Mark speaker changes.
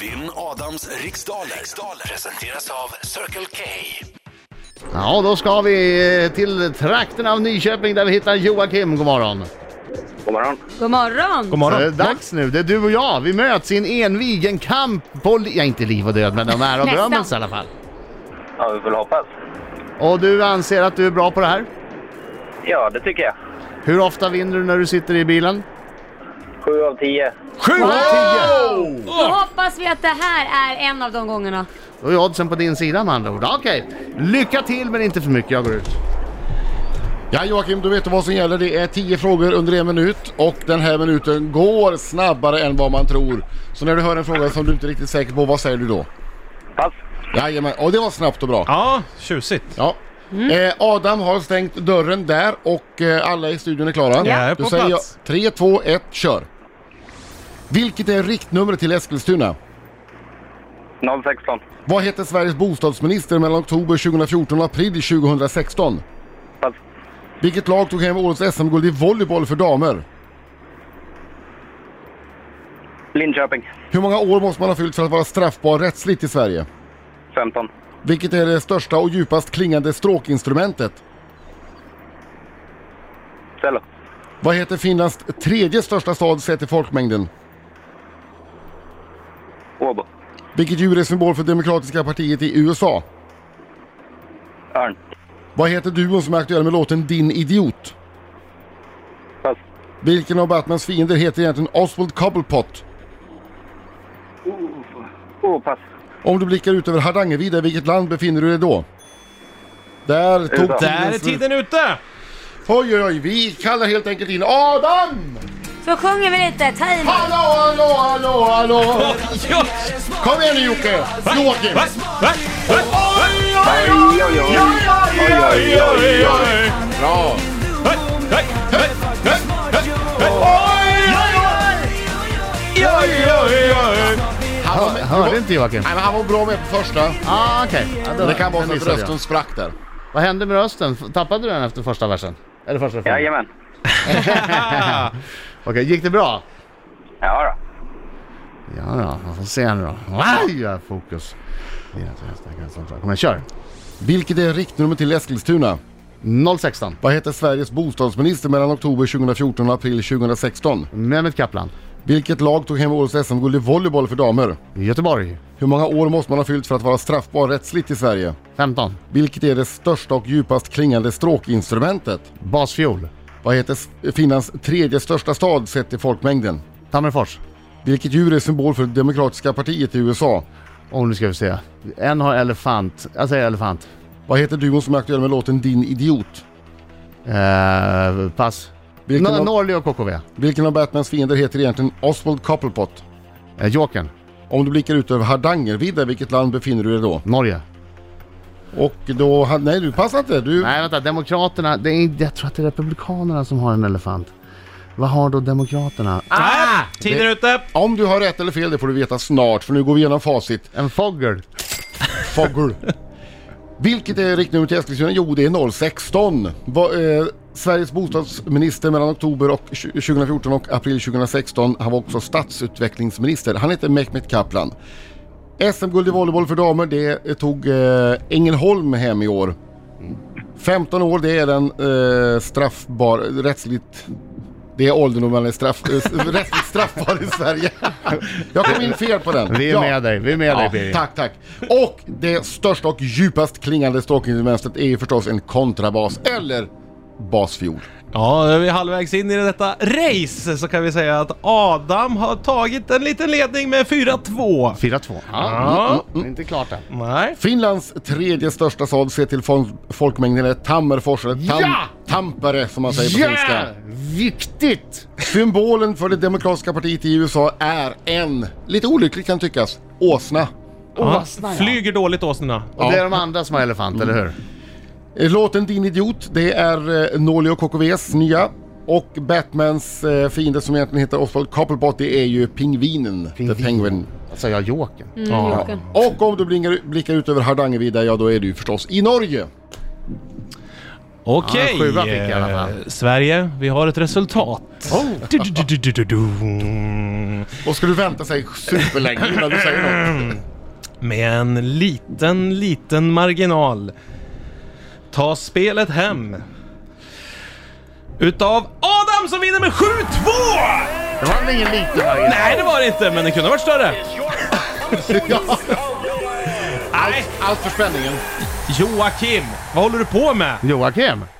Speaker 1: Vinn Adams riksdaler. riksdaler presenteras av Circle K.
Speaker 2: Ja, då ska vi eh, till trakten av Nyköping där vi hittar Joakim. God morgon.
Speaker 3: God morgon.
Speaker 4: God morgon!
Speaker 5: God
Speaker 2: Det är
Speaker 5: morgon.
Speaker 2: dags nu. Det är du och jag. Vi möts i en envigen kamp på... Li- ja, inte liv och död, men de är av
Speaker 4: Nästan.
Speaker 2: drömmens i alla fall.
Speaker 3: Ja, vi får hoppas.
Speaker 2: Och du anser att du är bra på det här?
Speaker 3: Ja, det tycker jag.
Speaker 2: Hur ofta vinner du när du sitter i bilen?
Speaker 3: Sju av tio.
Speaker 5: Sju av
Speaker 6: Oh!
Speaker 5: tio!
Speaker 4: Då hoppas vi att det här är en av de gångerna.
Speaker 2: Då är oddsen på din sida med andra ord. Okej, lycka till men inte för mycket. Jag går ut.
Speaker 6: Ja Joakim, du vet vad som gäller. Det är 10 frågor under en minut och den här minuten går snabbare än vad man tror. Så när du hör en fråga som du inte är riktigt säker på, vad säger du då?
Speaker 3: Pass.
Speaker 6: Jajamän, och det var snabbt och bra.
Speaker 5: Ja, tjusigt. Mm.
Speaker 6: Ja. Eh, Adam har stängt dörren där och eh, alla i studion är klara.
Speaker 5: Jag är
Speaker 6: du
Speaker 5: på
Speaker 6: säger
Speaker 5: plats.
Speaker 6: 3, 2, 1, kör! Vilket är riktnumret till Eskilstuna?
Speaker 3: 016.
Speaker 6: Vad heter Sveriges bostadsminister mellan oktober 2014 och april 2016?
Speaker 3: Pass.
Speaker 6: Vilket lag tog hem årets SM-guld i volleyboll för damer?
Speaker 3: Linköping.
Speaker 6: Hur många år måste man ha fyllt för att vara straffbar rättsligt i Sverige?
Speaker 3: 15.
Speaker 6: Vilket är det största och djupast klingande stråkinstrumentet?
Speaker 3: Cello.
Speaker 6: Vad heter Finlands tredje största stad sett till folkmängden?
Speaker 3: Åbo.
Speaker 6: Vilket djur är symbol för Demokratiska Partiet i USA?
Speaker 3: Örn.
Speaker 6: Vad heter duon som är aktuell med låten Din Idiot?
Speaker 3: Pass.
Speaker 6: Vilken av Batmans fiender heter egentligen Oswald Cobblepot?
Speaker 3: Oh, pass.
Speaker 6: Om du blickar ut över Hardangervidda, i vilket land befinner du dig då? Där tog
Speaker 3: Där
Speaker 5: Där är
Speaker 6: slut.
Speaker 5: tiden ute!
Speaker 6: Oj, oj, oj, vi kallar helt enkelt in Adam!
Speaker 4: Så sjunger vi lite, ta i lite.
Speaker 6: Hallå, hallå, hallå, hallå!
Speaker 5: Ja.
Speaker 6: Kom igen nu Jocke! Joakim!
Speaker 5: Va? Va? Va?
Speaker 3: Oj, oj, oj. Oj, oj, oj, oj.
Speaker 6: Bra! Han var,
Speaker 2: Hörde inte Joakim?
Speaker 6: Nej, men han var bra med på första.
Speaker 2: Ah, okej. Ja, då-
Speaker 6: Men det kan vara
Speaker 2: då
Speaker 6: så att
Speaker 2: missade jag.
Speaker 6: rösten sprack där.
Speaker 2: Vad hände med rösten? F- Tappade du den efter första versen? Eller första versen?
Speaker 3: Jajamän.
Speaker 2: Okej, gick det bra?
Speaker 3: Ja, då.
Speaker 2: Ja då, vi får se nu då. Aj, jag har fokus. Kom igen, kör.
Speaker 6: Vilket är riktnummer till Eskilstuna?
Speaker 2: 016.
Speaker 6: Vad heter Sveriges bostadsminister mellan oktober 2014 och april 2016?
Speaker 2: Mehmet Kaplan.
Speaker 6: Vilket lag tog hem årets SM-guld i volleyboll för damer?
Speaker 2: Göteborg.
Speaker 6: Hur många år måste man ha fyllt för att vara straffbar rättsligt i Sverige?
Speaker 2: 15.
Speaker 6: Vilket är det största och djupast klingande stråkinstrumentet?
Speaker 2: Basfiol.
Speaker 6: Vad heter S- Finlands tredje största stad sett till folkmängden?
Speaker 2: Tammerfors.
Speaker 6: Vilket djur är symbol för det Demokratiska Partiet i USA?
Speaker 2: Och nu ska vi se. En har elefant. Jag säger elefant.
Speaker 6: Vad heter duon som är aktuell med låten Din Idiot?
Speaker 2: Eh, pass.
Speaker 6: Vilken,
Speaker 2: Nå-
Speaker 6: av,
Speaker 2: Norli och KKV.
Speaker 6: vilken av Batmans fiender heter egentligen Oswald Cobblepot?
Speaker 2: Eh, Jokern.
Speaker 6: Om du blickar ut över Hardangervidda, vilket land befinner du dig då?
Speaker 2: Norge.
Speaker 6: Och då... han- Nej, du passar inte. Du...
Speaker 2: Nej vänta, Demokraterna. Det är, jag tror att det är Republikanerna som har en elefant. Vad har då Demokraterna?
Speaker 5: Ah! Tiden är ute!
Speaker 6: Om du har rätt eller fel, det får du veta snart, för nu går vi igenom facit.
Speaker 2: En fogger.
Speaker 6: Fogel. Vilket är riktnummer till Eskilstuna? Jo, det är 016. Va, eh, Sveriges bostadsminister mellan oktober och tj- 2014 och april 2016. Han var också stadsutvecklingsminister. Han heter Mehmet Kaplan. SM-guld i volleyboll för damer, det eh, tog eh, Ängelholm hem i år. 15 år, det är den eh, straffbar, rättsligt... Det är åldern då man är straff, eh, s- rättsligt straffbar i Sverige. Jag kom in fel på den.
Speaker 2: Vi är
Speaker 6: Ja.
Speaker 2: med dig. Vi är med dig
Speaker 6: Ja,
Speaker 2: Birger.
Speaker 6: tack, tack. Och det största och djupast klingande stråkinstrumentet är ju förstås en kontrabas eller basfiol.
Speaker 5: Ja, när vi är halvvägs in i detta race så kan vi säga att Adam har tagit en liten ledning med 4-2.
Speaker 2: 4-2.
Speaker 6: Ah.
Speaker 5: Ja.
Speaker 2: Mm, Inte klart än.
Speaker 5: Nej.
Speaker 6: Finlands tredje största stad sett till fol- folkmängden är Tammerfors, eller tam-
Speaker 2: Ja!
Speaker 6: Tampere som man säger på
Speaker 2: Ja!
Speaker 6: finska.
Speaker 2: Viktigt!
Speaker 6: Symbolen för det demokratiska partiet i USA är en, lite olyckligt kan tyckas, åsna.
Speaker 5: Ja,
Speaker 2: Åsna, ja.
Speaker 5: Flyger dåligt åsnorna.
Speaker 2: Och det är de andra som har elefant, eller
Speaker 6: Mm.
Speaker 2: hur?
Speaker 6: Eh, Låten Din Idiot, det är eh, Norli och KKVs nya. Och Batmans eh, fiende som egentligen heter Oswald Cobblepot, det är ju pingvinen. The Penguin.
Speaker 2: Alltså jag Jokern.
Speaker 6: Mm.
Speaker 4: Mm,
Speaker 5: Ja.
Speaker 6: Och om du blinkar, blickar ut över Hardangervidda, ja då är du förstås i Norge.
Speaker 5: Okej.
Speaker 2: Ja, sjua fick jag i alla fall. Oh.
Speaker 5: eh, Sverige, vi har ett resultat. Du, du, du, du, du, du, du.
Speaker 6: Och ska du vänta sig superlänge innan du säger något?
Speaker 5: Med en liten, liten marginal ta spelet hem. Utav Adam som vinner med 7-2!
Speaker 2: Det var väl ingen liten marginal?
Speaker 5: Nej, det var det inte, men det kunde ha varit större.
Speaker 6: Ja,
Speaker 5: Nej.
Speaker 6: allt för spänningen.
Speaker 5: Joakim, vad håller du på med?
Speaker 2: Joakim?